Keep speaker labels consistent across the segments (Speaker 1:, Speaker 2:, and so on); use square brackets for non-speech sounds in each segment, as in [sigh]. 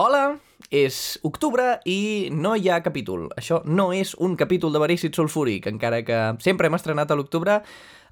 Speaker 1: Hola, és octubre i no hi ha capítol. Això no és un capítol de Verícit Sulfúric, encara que sempre hem estrenat a l'octubre.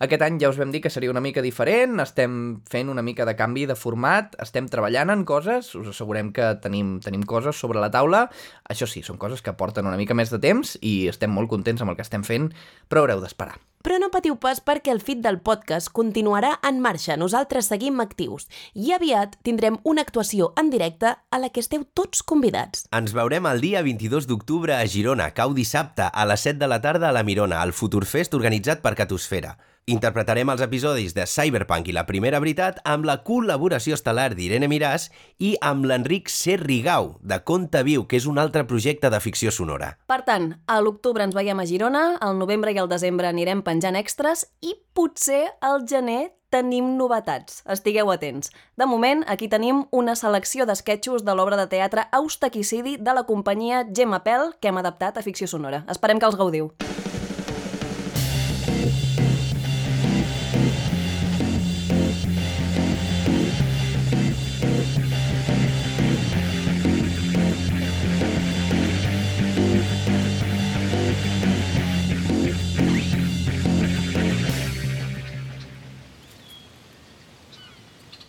Speaker 1: Aquest any ja us vam dir que seria una mica diferent, estem fent una mica de canvi de format, estem treballant en coses, us assegurem que tenim, tenim coses sobre la taula. Això sí, són coses que porten una mica més de temps i estem molt contents amb el que estem fent, però haureu d'esperar.
Speaker 2: Però no patiu pas perquè el feed del podcast continuarà en marxa. Nosaltres seguim actius i aviat tindrem una actuació en directe a la que esteu tots convidats.
Speaker 3: Ens veurem el dia 22 d'octubre a Girona, cau dissabte, a les 7 de la tarda a la Mirona, al Futurfest organitzat per Catosfera. Interpretarem els episodis de Cyberpunk i la primera veritat amb la col·laboració estel·lar d'Irene Miràs i amb l'Enric Serrigau, de Conte Viu, que és un altre projecte de ficció sonora.
Speaker 4: Per tant, a l'octubre ens veiem a Girona, al novembre i al desembre anirem penjant extras i potser al gener tenim novetats. Estigueu atents. De moment, aquí tenim una selecció d'esquetxos de l'obra de teatre Austaquicidi de la companyia Gemma Pèl, que hem adaptat a ficció sonora. Esperem que els gaudiu.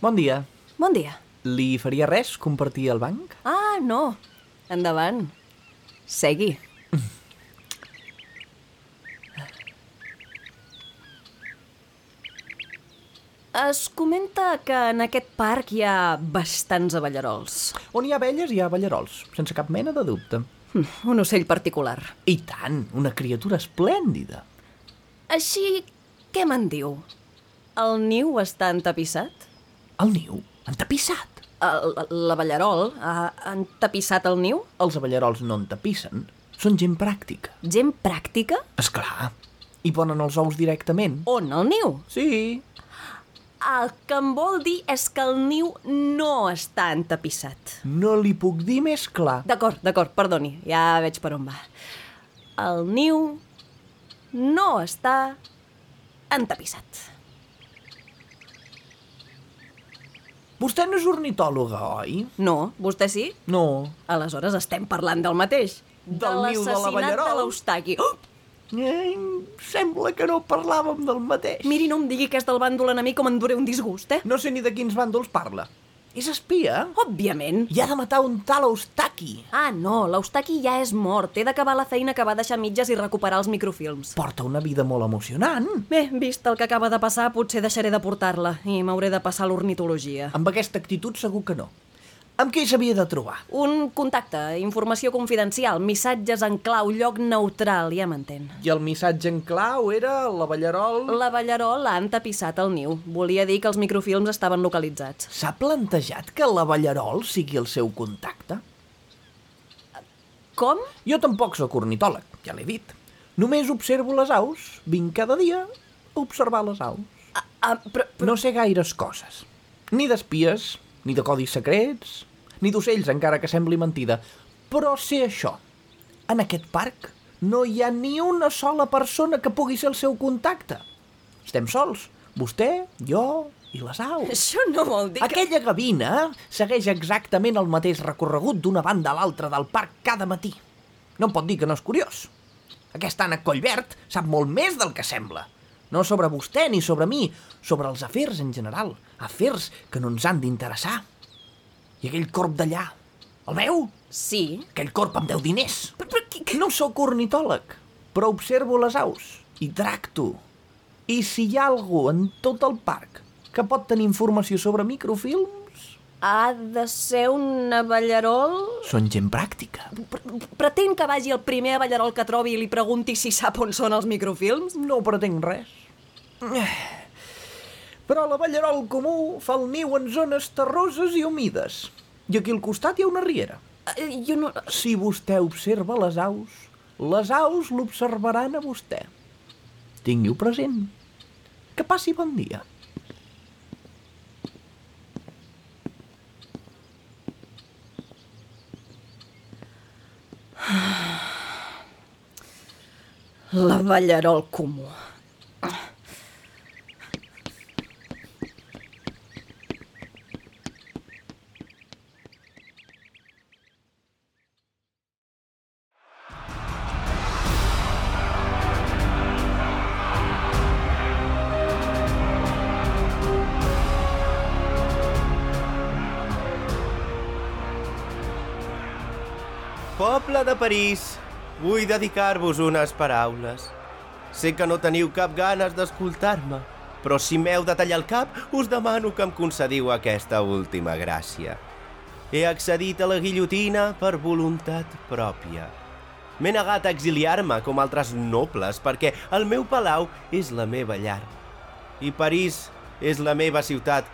Speaker 1: Bon dia.
Speaker 4: Bon dia.
Speaker 1: Li faria res compartir el banc?
Speaker 4: Ah, no. Endavant. Segui. Es comenta que en aquest parc hi ha bastants avallarols.
Speaker 1: On hi ha abelles hi ha ballarols, sense cap mena de dubte.
Speaker 4: Hm, Un ocell particular.
Speaker 1: I tant, una criatura esplèndida.
Speaker 4: Així, què me'n diu? El niu està entapissat?
Speaker 1: El niu, entapissat.
Speaker 4: El- L'avallarol ha entapissat el niu?
Speaker 1: Els aballarols no entapissen, són gent pràctica.
Speaker 4: Gent pràctica?
Speaker 1: És clar, hi ponen els ous directament.
Speaker 4: On el niu?
Speaker 1: Sí,
Speaker 4: El que em vol dir és que el niu no està entapissat.
Speaker 1: no li puc dir més clar.
Speaker 4: D'acord, d'acord, perdoni, ja veig per on va. El niu no està entapissat.
Speaker 1: Vostè no és ornitòloga, oi?
Speaker 4: No, vostè sí?
Speaker 1: No.
Speaker 4: Aleshores estem parlant del mateix.
Speaker 1: Del niu de
Speaker 4: l'assassinat de
Speaker 1: l'Avallarol.
Speaker 4: l'Eustaqui. Oh!
Speaker 1: Eh, sembla que no parlàvem del mateix.
Speaker 4: Miri, no em digui que és del bàndol enemic com em duré un disgust, eh?
Speaker 1: No sé ni de quins bàndols parla. És espia?
Speaker 4: Òbviament.
Speaker 1: I ha de matar un tal Eustaqui.
Speaker 4: Ah, no, l'Eustaqui ja és mort. He d'acabar la feina que va deixar a mitges i recuperar els microfilms.
Speaker 1: Porta una vida molt emocionant.
Speaker 4: Bé, vist el que acaba de passar, potser deixaré de portar-la i m'hauré de passar a l'ornitologia.
Speaker 1: Amb aquesta actitud segur que no. Amb qui s'havia de trobar?
Speaker 4: Un contacte, informació confidencial, missatges en clau, lloc neutral, ja m'entén.
Speaker 1: I el missatge en clau era la Ballarol...
Speaker 4: La Ballarol l'ha entapissat al niu. Volia dir que els microfilms estaven localitzats.
Speaker 1: S'ha plantejat que la Ballarol sigui el seu contacte?
Speaker 4: Com?
Speaker 1: Jo tampoc sóc ornitòleg, ja l'he dit. Només observo les aus, vinc cada dia a observar les aus.
Speaker 4: Ah, ah, però, però...
Speaker 1: No sé gaires coses. Ni d'espies, ni de codis secrets, ni d'ocells, encara que sembli mentida. Però sé això. En aquest parc no hi ha ni una sola persona que pugui ser el seu contacte. Estem sols. Vostè, jo i les aus.
Speaker 4: Això no vol dir
Speaker 1: Aquella gavina segueix exactament el mateix recorregut d'una banda a l'altra del parc cada matí. No em pot dir que no és curiós. Aquest ànec Collverd sap molt més del que sembla. No sobre vostè ni sobre mi, sobre els afers en general. Afers que no ens han d'interessar. I aquell corp d'allà, el veu?
Speaker 4: que... Sí.
Speaker 1: Aquell corp amb 10 diners.
Speaker 4: Però, però, qui, qui...
Speaker 1: No sóc ornitòleg, però observo les aus i tracto. I si hi ha algú en tot el parc que pot tenir informació sobre microfilms,
Speaker 4: Ha de ser un Ballarol...
Speaker 1: són gent pràctica.
Speaker 4: Pretén que vagi el primer Ballarol que trobi i li pregunti si sap on són els microfilms?
Speaker 1: No pretenc res. Però la ballarol comú fa el niu en zones terroses i humides. I aquí al costat hi ha una riera.
Speaker 4: Eh, jo no...
Speaker 1: Si vostè observa les aus, les aus l'observaran a vostè. Tingui-ho present. Que passi bon dia.
Speaker 4: La Ballarol comú.
Speaker 3: Poble de París, vull dedicar-vos unes paraules. Sé que no teniu cap ganes d'escoltar-me, però si m'heu de tallar el cap, us demano que em concediu aquesta última gràcia. He accedit a la guillotina per voluntat pròpia. M'he negat a exiliar-me com altres nobles perquè el meu palau és la meva llar. I París és la meva ciutat.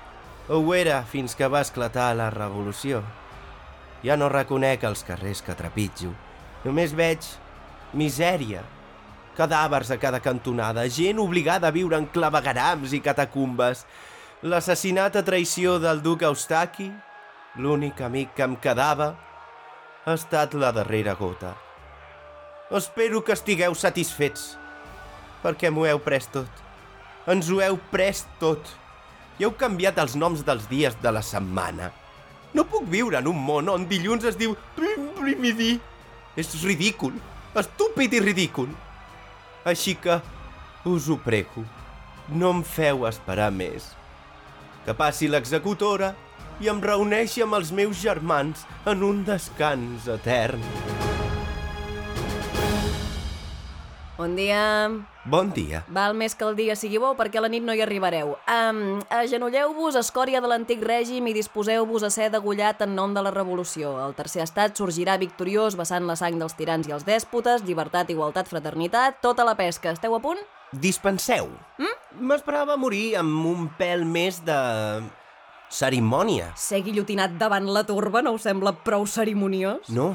Speaker 3: Ho era fins que va esclatar la revolució. Ja no reconec els carrers que trepitjo. Només veig misèria, cadàvers a cada cantonada, gent obligada a viure en clavegarams i catacumbes, l'assassinat a traïció del duc Eustaqui, l'únic amic que em quedava, ha estat la darrera gota. Espero que estigueu satisfets, perquè m'ho heu pres tot. Ens ho heu pres tot. I heu canviat els noms dels dies de la setmana. No puc viure en un món on dilluns es diu prim primidí. És ridícul, estúpid i ridícul. Així que us ho prego, no em feu esperar més. Que passi l'executora i em reuneixi amb els meus germans en un descans etern.
Speaker 4: Bon dia.
Speaker 3: Bon dia.
Speaker 4: Val més que el dia sigui bo perquè a la nit no hi arribareu. Um, agenolleu-vos, escòria de l'antic règim i disposeu-vos a ser degullat en nom de la revolució. El tercer estat sorgirà victoriós vessant la sang dels tirans i els dèspotes, llibertat, igualtat, fraternitat, tota la pesca. Esteu a punt?
Speaker 3: Dispenseu. M'esperava morir amb un pèl més de... cerimònia.
Speaker 4: Ser guillotinat davant la turba no us sembla prou cerimoniós?
Speaker 3: No?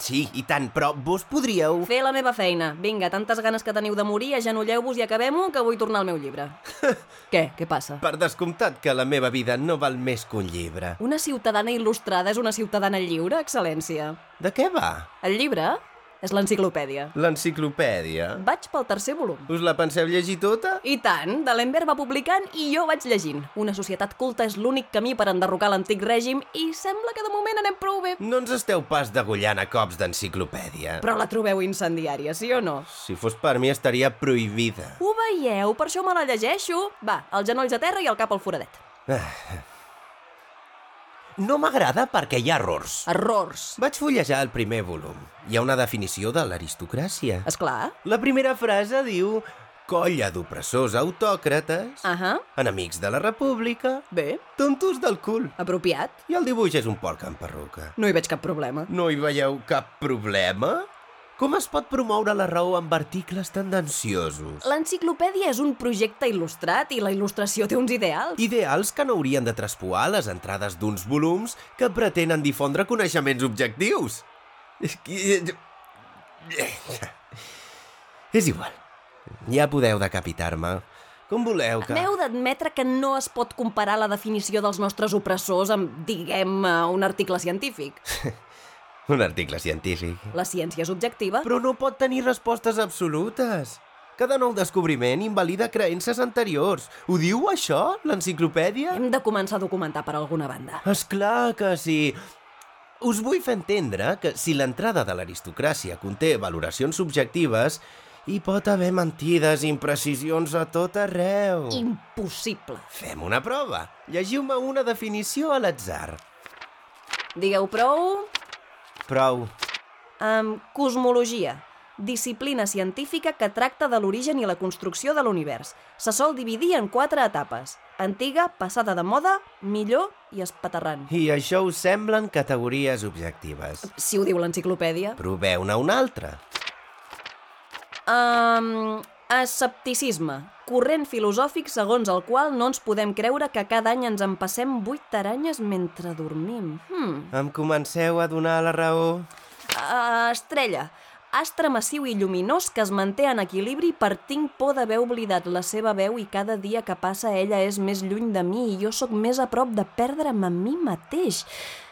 Speaker 3: Sí, i tant, però vos podríeu...
Speaker 4: Fer la meva feina. Vinga, tantes ganes que teniu de morir, agenolleu-vos i acabem-ho, que vull tornar al meu llibre. Què? Què passa?
Speaker 3: Per descomptat que la meva vida no val més que un llibre.
Speaker 4: Una ciutadana il·lustrada és una ciutadana lliure, excel·lència.
Speaker 3: De què va?
Speaker 4: El llibre és l'enciclopèdia.
Speaker 3: L'enciclopèdia?
Speaker 4: Vaig pel tercer volum.
Speaker 3: Us la penseu llegir tota?
Speaker 4: I tant, D'Alembert va publicant i jo vaig llegint. Una societat culta és l'únic camí per enderrocar l'antic règim i sembla que de moment anem prou bé.
Speaker 3: No ens esteu pas degullant a cops d'enciclopèdia.
Speaker 4: Però la trobeu incendiària, sí o no?
Speaker 3: Si fos per mi estaria prohibida.
Speaker 4: Ho veieu? Per això me la llegeixo. Va, els genolls a terra i el cap al foradet.
Speaker 3: No m'agrada perquè hi ha errors.
Speaker 4: Errors.
Speaker 3: Vaig fullejar el primer volum. Hi ha una definició de l'aristocràcia.
Speaker 4: És clar.
Speaker 3: La primera frase diu colla d'opressors autòcrates,
Speaker 4: Ahà.
Speaker 3: enemics de la república,
Speaker 4: Bé,
Speaker 3: tontos del cul.
Speaker 4: apropiat.
Speaker 3: I el dibuix és un porc amb perruca.
Speaker 4: No hi veig cap problema.
Speaker 3: No hi veieu cap problema? Com es pot promoure la raó amb articles tendenciosos?
Speaker 4: L'enciclopèdia és un projecte il·lustrat i la il·lustració té uns ideals.
Speaker 3: Ideals que no haurien de traspoar les entrades d'uns volums que pretenen difondre coneixements objectius. És que- eh, [laughs] És igual. Ja podeu decapitar-me. Com voleu que...
Speaker 4: Heu d'admetre que no es pot comparar la definició dels nostres opressors amb, diguem, eh, un article científic.
Speaker 3: Un article científic.
Speaker 4: La ciència és objectiva,
Speaker 3: Però no pot tenir respostes absolutes. Cada nou descobriment invalida creences anteriors. Ho diu això, l'enciclopèdia?
Speaker 4: Hem de començar a documentar per alguna banda.
Speaker 3: És clar que sí. Us vull fer entendre que si l'entrada de l'aristocràcia conté valoracions subjectives, hi pot haver mentides i imprecisions a tot arreu.
Speaker 4: Impossible.
Speaker 3: Fem una prova. Llegiu-me una definició a l'atzar.
Speaker 4: Digueu prou...
Speaker 3: Prou.
Speaker 4: Um, cosmologia. Disciplina científica que tracta de l'origen i la construcció de l'univers. Se sol dividir en quatre etapes. Antiga, passada de moda, millor i espaterrant.
Speaker 3: I això us semblen categories objectives.
Speaker 4: Si ho diu l'enciclopèdia.
Speaker 3: Proveu-ne una altra.
Speaker 4: Um, escepticisme. Corrent filosòfic segons el qual no ens podem creure que cada any ens empassem vuit aranyes mentre dormim. Hmm.
Speaker 3: Em comenceu a donar la raó?
Speaker 4: Uh, estrella. Astre massiu i lluminós que es manté en equilibri per tinc por d'haver oblidat la seva veu i cada dia que passa ella és més lluny de mi i jo sóc més a prop de perdre'm a mi mateix.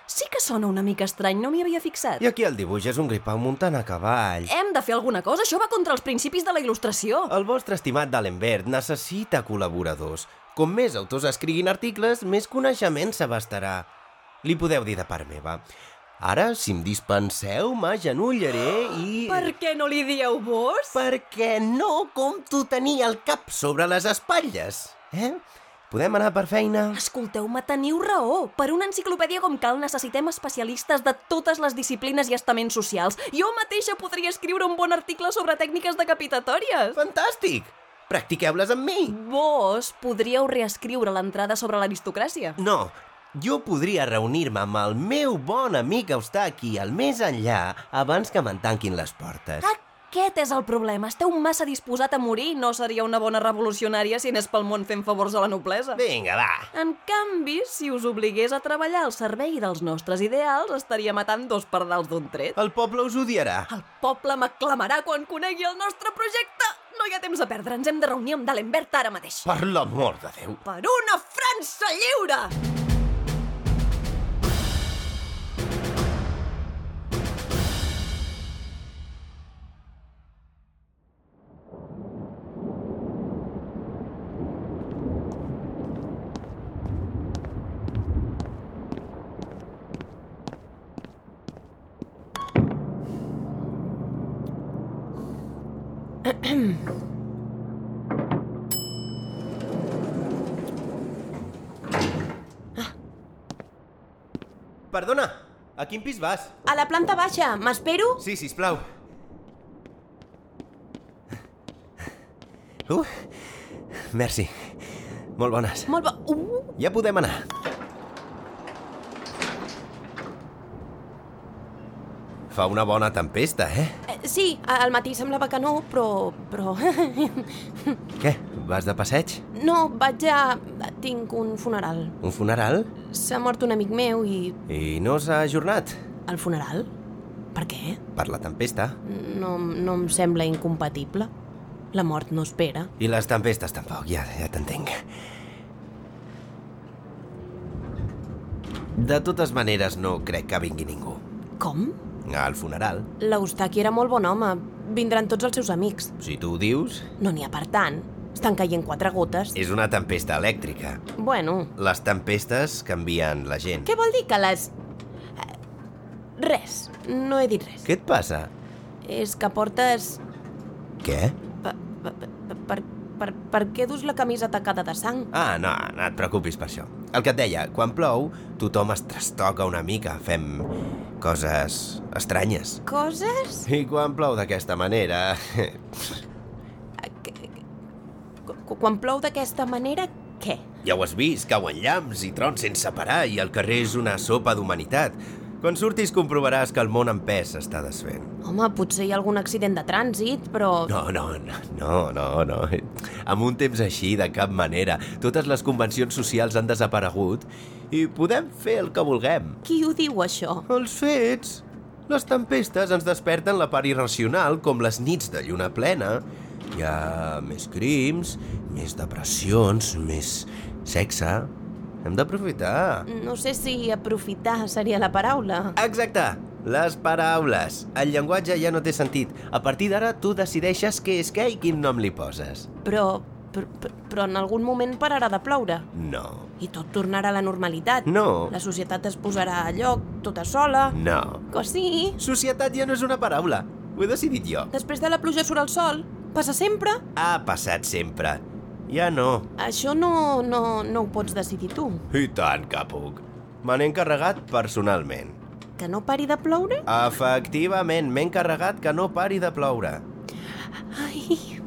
Speaker 4: Sí que sona una mica estrany, no m'hi havia fixat.
Speaker 3: I aquí el dibuix és un gripau muntant a cavall.
Speaker 4: Hem de fer alguna cosa, això va contra els principis de la il·lustració.
Speaker 3: El vostre estimat D'Alembert necessita col·laboradors. Com més autors escriguin articles, més coneixement s'abastarà. Li podeu dir de part meva. Ara, si em dispenseu, m'agenollaré i...
Speaker 4: Per què no li dieu vos?
Speaker 3: Perquè no compto tenir el cap sobre les espatlles, eh? Podem anar per feina?
Speaker 5: Escolteu-me, teniu raó. Per una enciclopèdia com cal necessitem especialistes de totes les disciplines i estaments socials. Jo mateixa podria escriure un bon article sobre tècniques decapitatòries.
Speaker 3: Fantàstic! Practiqueu-les amb mi!
Speaker 5: Vos podríeu reescriure l'entrada sobre l'aristocràcia.
Speaker 3: No, jo podria reunir-me amb el meu bon amic Eustaqui al més enllà abans que me'n tanquin les portes.
Speaker 5: Aquest és el problema. Esteu massa disposat a morir. No seria una bona revolucionària si anés pel món fent favors a la noblesa.
Speaker 3: Vinga, va!
Speaker 5: En canvi, si us obligués a treballar al servei dels nostres ideals, estaria matant dos pardals d'un tret.
Speaker 3: El poble us odiarà.
Speaker 4: Ah.
Speaker 5: El poble m'aclamarà quan conegui el nostre projecte! No hi ha temps a perdre, ens hem de reunir amb D'Alembert ara mateix.
Speaker 3: Per l'amor de Déu!
Speaker 5: Per una França lliure!
Speaker 3: Perdona, a quin pis vas?
Speaker 4: A la planta baixa, m'espero?
Speaker 3: Sí, sisplau. Uh, merci. Molt bones.
Speaker 4: Molt bo... Uh,
Speaker 3: Ja podem anar. Fa una bona tempesta, eh?
Speaker 4: eh, sí, a- al matí semblava que no, però... però... [laughs]
Speaker 3: Què? Vas de passeig?
Speaker 4: no, vaig a... Tinc un funeral.
Speaker 3: Un funeral?
Speaker 4: S'ha mort un amic meu i...
Speaker 3: I no s'ha ajornat?
Speaker 4: El funeral? Per què?
Speaker 3: Per la tempesta.
Speaker 4: No, no em sembla incompatible. La mort no espera.
Speaker 3: I les tempestes tampoc, ja, ja t'entenc. De totes maneres, no crec que vingui ningú.
Speaker 4: Com?
Speaker 3: Al funeral,
Speaker 4: L'Eustaqui era molt bon home. Vindran tots els seus amics.
Speaker 3: si tu ho dius,
Speaker 4: No n'hi ha per tant. Estan caient quatre gotes.
Speaker 3: és una tempesta elèctrica.
Speaker 4: Bueno,
Speaker 3: Les tempestes canvien la gent.
Speaker 4: què vol dir que les... Eh, Res, no he dit res.
Speaker 3: Què et passa?
Speaker 4: És que portes...
Speaker 3: Què?
Speaker 4: Per, per, per, per, per què dus la camisa tacada de sang?
Speaker 3: Ah, no, no et preocupis per això. El que et deia, quan plou, tothom es trastoca una mica, fem coses estranyes.
Speaker 4: Coses?
Speaker 3: I quan plou d'aquesta manera...
Speaker 4: Eh, que- que- qu- Quan plou d'aquesta manera, què?
Speaker 3: Ja ho has vist, cauen llamps i trons sense parar i el carrer és una sopa d'humanitat. Quan surtis comprovaràs que el món en pes s'està desfent.
Speaker 4: Home, potser hi ha algun accident de trànsit, però...
Speaker 3: No, no, no, no, no, no. Amb un temps així, de cap manera. Totes les convencions socials han desaparegut i podem fer el que vulguem.
Speaker 4: Qui ho diu, això?
Speaker 3: Els fets? Les tempestes ens desperten la part irracional, com les nits de lluna plena. Hi ha més crims, més depressions, més sexe. Hem d'aprofitar.
Speaker 4: No sé si aprofitar seria la paraula.
Speaker 3: Exacte! Les paraules. El llenguatge ja no té sentit. A partir d'ara tu decideixes què és què i quin nom li poses.
Speaker 4: Però, però, però en algun moment pararà de ploure
Speaker 3: No.
Speaker 4: i tot tornarà a la normalitat.
Speaker 3: No.
Speaker 4: La societat es posarà a lloc, tota sola.
Speaker 3: No.
Speaker 4: Que sí,
Speaker 3: Societat ja no és una paraula. Ho he decidit jo.
Speaker 4: després de la pluja surt el sol. Passa sempre?
Speaker 3: Ha passat sempre. Ja no.
Speaker 4: Això no, no, no ho pots decidir tu.
Speaker 3: I tant que puc. Me n'he encarregat personalment.
Speaker 4: Que no pari de ploure?
Speaker 3: Efectivament, m'he encarregat que no pari de ploure.
Speaker 4: Ai,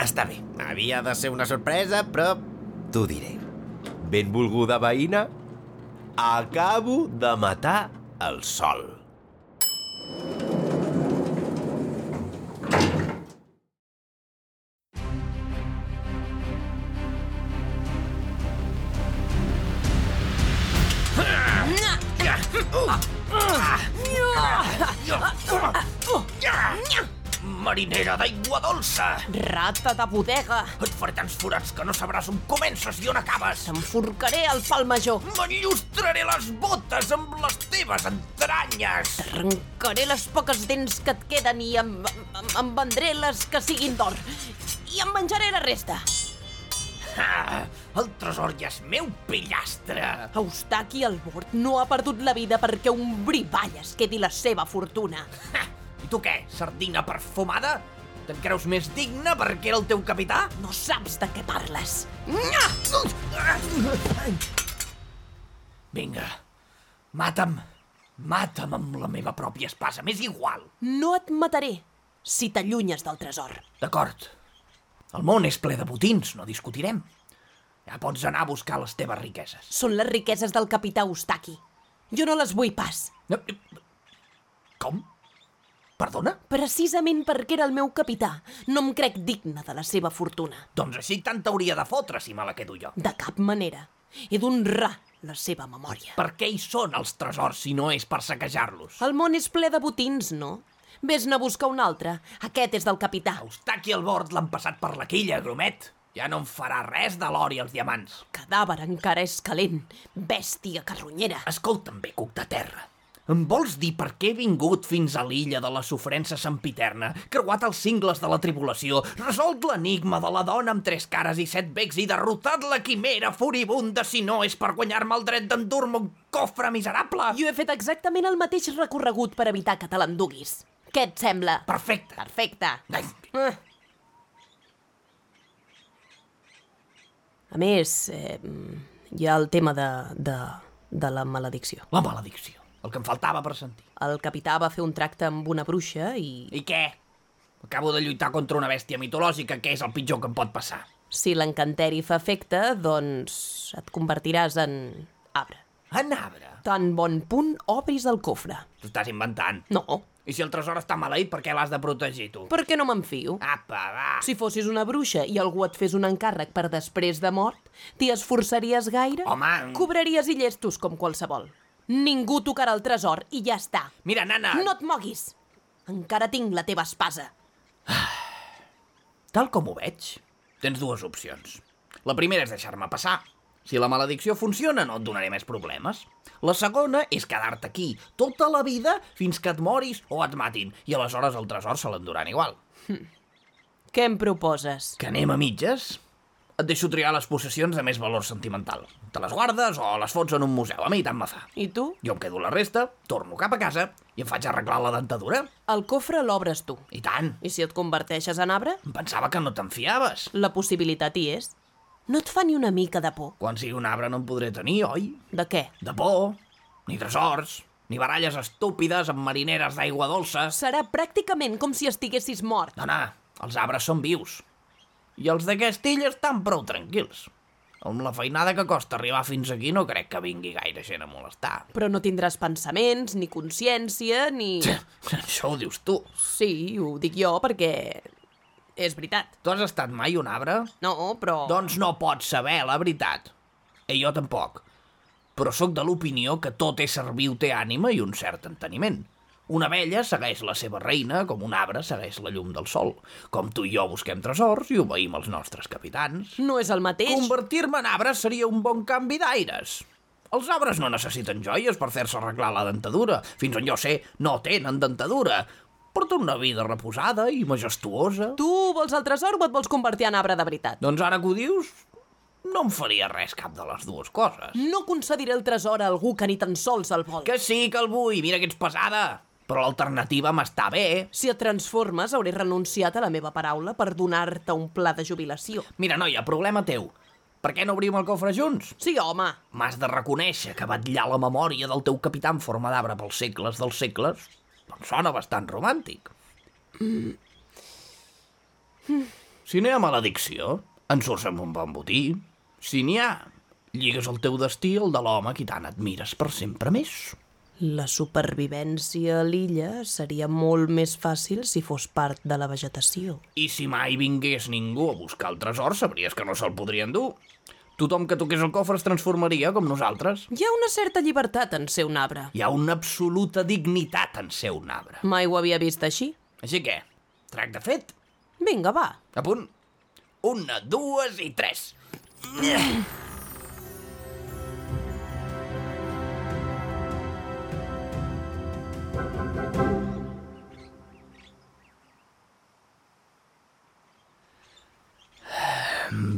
Speaker 3: Està bé, havia de ser una sorpresa, però t'ho diré. Benvolguda veïna, acabo de matar el sol.
Speaker 1: Marinera d'aigua dolça!
Speaker 4: rata de bodega!
Speaker 1: Et faré tants forats que no sabràs on comences i on acabes!
Speaker 4: T'enforcaré al pal major!
Speaker 1: M'enllustraré les botes amb les teves entranyes!
Speaker 4: Arrencaré les poques dents que et queden i em, em, em vendré les que siguin d'or. I em menjaré la resta.
Speaker 1: Ah, el tresor ja és meu, pillastre!
Speaker 4: Eustaqui el Bord no ha perdut la vida perquè un brivall es quedi la seva fortuna.
Speaker 1: I tu què, sardina perfumada? Te'n creus més digne perquè era el teu capità?
Speaker 4: No saps de què parles.
Speaker 1: Vinga, mata'm. Mata'm amb la meva pròpia espasa, m'és igual.
Speaker 4: No et mataré si t'allunyes del tresor.
Speaker 1: D'acord. El món és ple de botins, no discutirem. Ja pots anar a buscar les teves riqueses.
Speaker 4: Són les riqueses del capità Ustaki. Jo no les vull pas,
Speaker 1: No, eh, Com? Perdona?
Speaker 4: precisament perquè era el meu capità. No em crec digna de la seva fortuna.
Speaker 1: Doncs així tant t'hauria de fotre si me la quedo jo.
Speaker 4: De cap manera. He d'honrar la seva memòria.
Speaker 1: Per què hi són els tresors si no és per saquejar-los?
Speaker 4: El món és ple de botins, no? Ves-ne a buscar un altre. Aquest és del capità.
Speaker 1: Eustaqui al bord l'han passat per la quilla, gromet. Ja no en farà res de l'or i els diamants.
Speaker 4: Cadàver encara és calent. Bèstia carronyera.
Speaker 1: Escolta'm bé, cuc de terra. Em vols dir per què he vingut fins a l'illa de la sofrença sempiterna, creuat els cingles de la tribulació, resolt l'enigma de la dona amb tres cares i set becs i derrotat la quimera furibunda si no és per guanyar-me el dret d'endur-me un cofre miserable?
Speaker 4: Jo he fet exactament el mateix recorregut per evitar que te l'enduguis. Què et sembla?
Speaker 1: Perfecte.
Speaker 4: Perfecte.
Speaker 1: Ai,
Speaker 4: Ah. A més, eh, hi ha el tema de, de, de la maledicció.
Speaker 1: la maledicció. El que em faltava per sentir.
Speaker 4: El capità va fer un tracte amb una bruixa i,
Speaker 1: I què? Acabo de lluitar contra una bèstia mitològica, que és el pitjor que em pot passar.
Speaker 4: si l'encanteri fa efecte, doncs et convertiràs en arbre.
Speaker 1: En arbre?
Speaker 4: Tan bon punt obris el cofre.
Speaker 1: T'ho estàs inventant.
Speaker 4: No,
Speaker 1: I si el tresor està maleït, per què l'has de protegir, tu?
Speaker 4: per què no m'enfio?
Speaker 1: Apa, va.
Speaker 4: Si fossis una bruixa i algú et fes un encàrrec per després de mort, t'hi esforçaries gaire?
Speaker 1: Home.
Speaker 4: Cobraries i llestos com qualsevol. Ningú tocarà el tresor i ja està.
Speaker 1: Mira, nana,
Speaker 4: No et moguis! Encara tinc la teva espasa.
Speaker 1: tal com ho veig, tens dues opcions. La primera és deixar-me passar. Si la maledicció funciona, no et donaré més problemes. La segona és quedar-te aquí tota la vida fins que et moris o et matin, i aleshores el tresor se l'enduran igual.
Speaker 4: Què em proposes?
Speaker 1: Que anem a mitges? Et deixo triar les possessions de més valor sentimental. Te les guardes o les fots en un museu, a mi tant me fa.
Speaker 4: I tu?
Speaker 1: Jo em quedo la resta, torno cap a casa i em faig arreglar la dentadura.
Speaker 4: El cofre l'obres tu.
Speaker 1: I tant,
Speaker 4: I si et converteixes en arbre,
Speaker 1: em pensava que no te'n fiaves.
Speaker 4: la possibilitat hi és. No et fa ni una mica de por.
Speaker 1: Quan sigui un arbre no en podré tenir, oi?
Speaker 4: De què?
Speaker 1: de por, ni tresors, ni baralles estúpides amb marineres d'aigua dolça.
Speaker 4: Serà pràcticament com si estiguessis mort.
Speaker 1: Dona, els arbres són vius. I els d'aquesta illa estan prou tranquils. Amb la feinada que costa arribar fins aquí no crec que vingui gaire gent a molestar. [laughs]
Speaker 4: Però no tindràs pensaments, ni consciència, ni...
Speaker 1: Això ho dius tu.
Speaker 4: Sí, ho dic jo perquè... És veritat.
Speaker 1: Tu has estat mai un arbre?
Speaker 4: No, però...
Speaker 1: Doncs no pots saber, la veritat. I jo tampoc. Però sóc de l'opinió que tot ésser viu té ànima i un cert enteniment. Una abella segueix la seva reina com un arbre segueix la llum del sol. Com tu i jo busquem tresors i obeïm els nostres capitans.
Speaker 4: No és el mateix.
Speaker 1: Convertir-me en arbre seria un bon canvi d'aires. Els arbres no necessiten joies per fer-se arreglar la dentadura. Fins on jo sé, no tenen dentadura. Porta una vida reposada i majestuosa.
Speaker 4: Tu vols el tresor o et vols convertir en arbre de veritat?
Speaker 1: Doncs ara que ho dius, no em faria res cap de les dues coses.
Speaker 4: No concediré el tresor a algú que ni tan sols el vol.
Speaker 1: Que sí que el vull, mira que ets pesada. Però l'alternativa m'està bé.
Speaker 4: Si et transformes, hauré renunciat a la meva paraula per donar-te un pla de jubilació.
Speaker 1: Mira, noia, problema teu. Per què no obrim el cofre junts?
Speaker 4: Sí, home.
Speaker 1: M'has de reconèixer que batllar la memòria del teu capità en forma d'arbre pels segles dels segles em sona bastant romàntic. Si n'hi ha maledicció, en surts amb un bon botí. Si n'hi ha, lligues el teu destí al de l'home a qui tant admires per sempre més.
Speaker 4: La supervivència a l'illa seria molt més fàcil si fos part de la vegetació.
Speaker 1: I si mai vingués ningú a buscar el tresor, sabries que no se'l podrien dur. Tothom que toqués el cofre es transformaria com nosaltres.
Speaker 4: Hi ha una certa llibertat en ser un arbre.
Speaker 1: Hi ha una absoluta dignitat en ser un arbre.
Speaker 4: Mai ho havia vist així.
Speaker 1: Així que, tracte fet.
Speaker 4: Vinga, va.
Speaker 1: A punt. Una, dues i tres.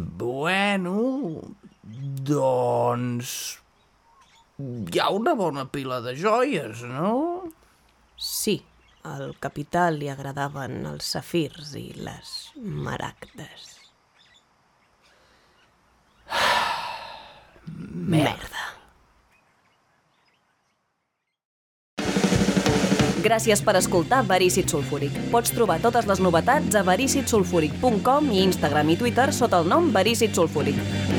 Speaker 1: Bueno, doncs... Hi ha una bona pila de joies, no?
Speaker 4: Sí,
Speaker 2: Al capità li agradaven els safirs i les
Speaker 4: [sighs]
Speaker 2: maragdes. Merda.
Speaker 4: Gràcies per escoltar Verícit Sulfúric. Pots trobar totes les novetats a vericitsulfúric.com i Instagram i Twitter sota el nom Verícit Sulfúric.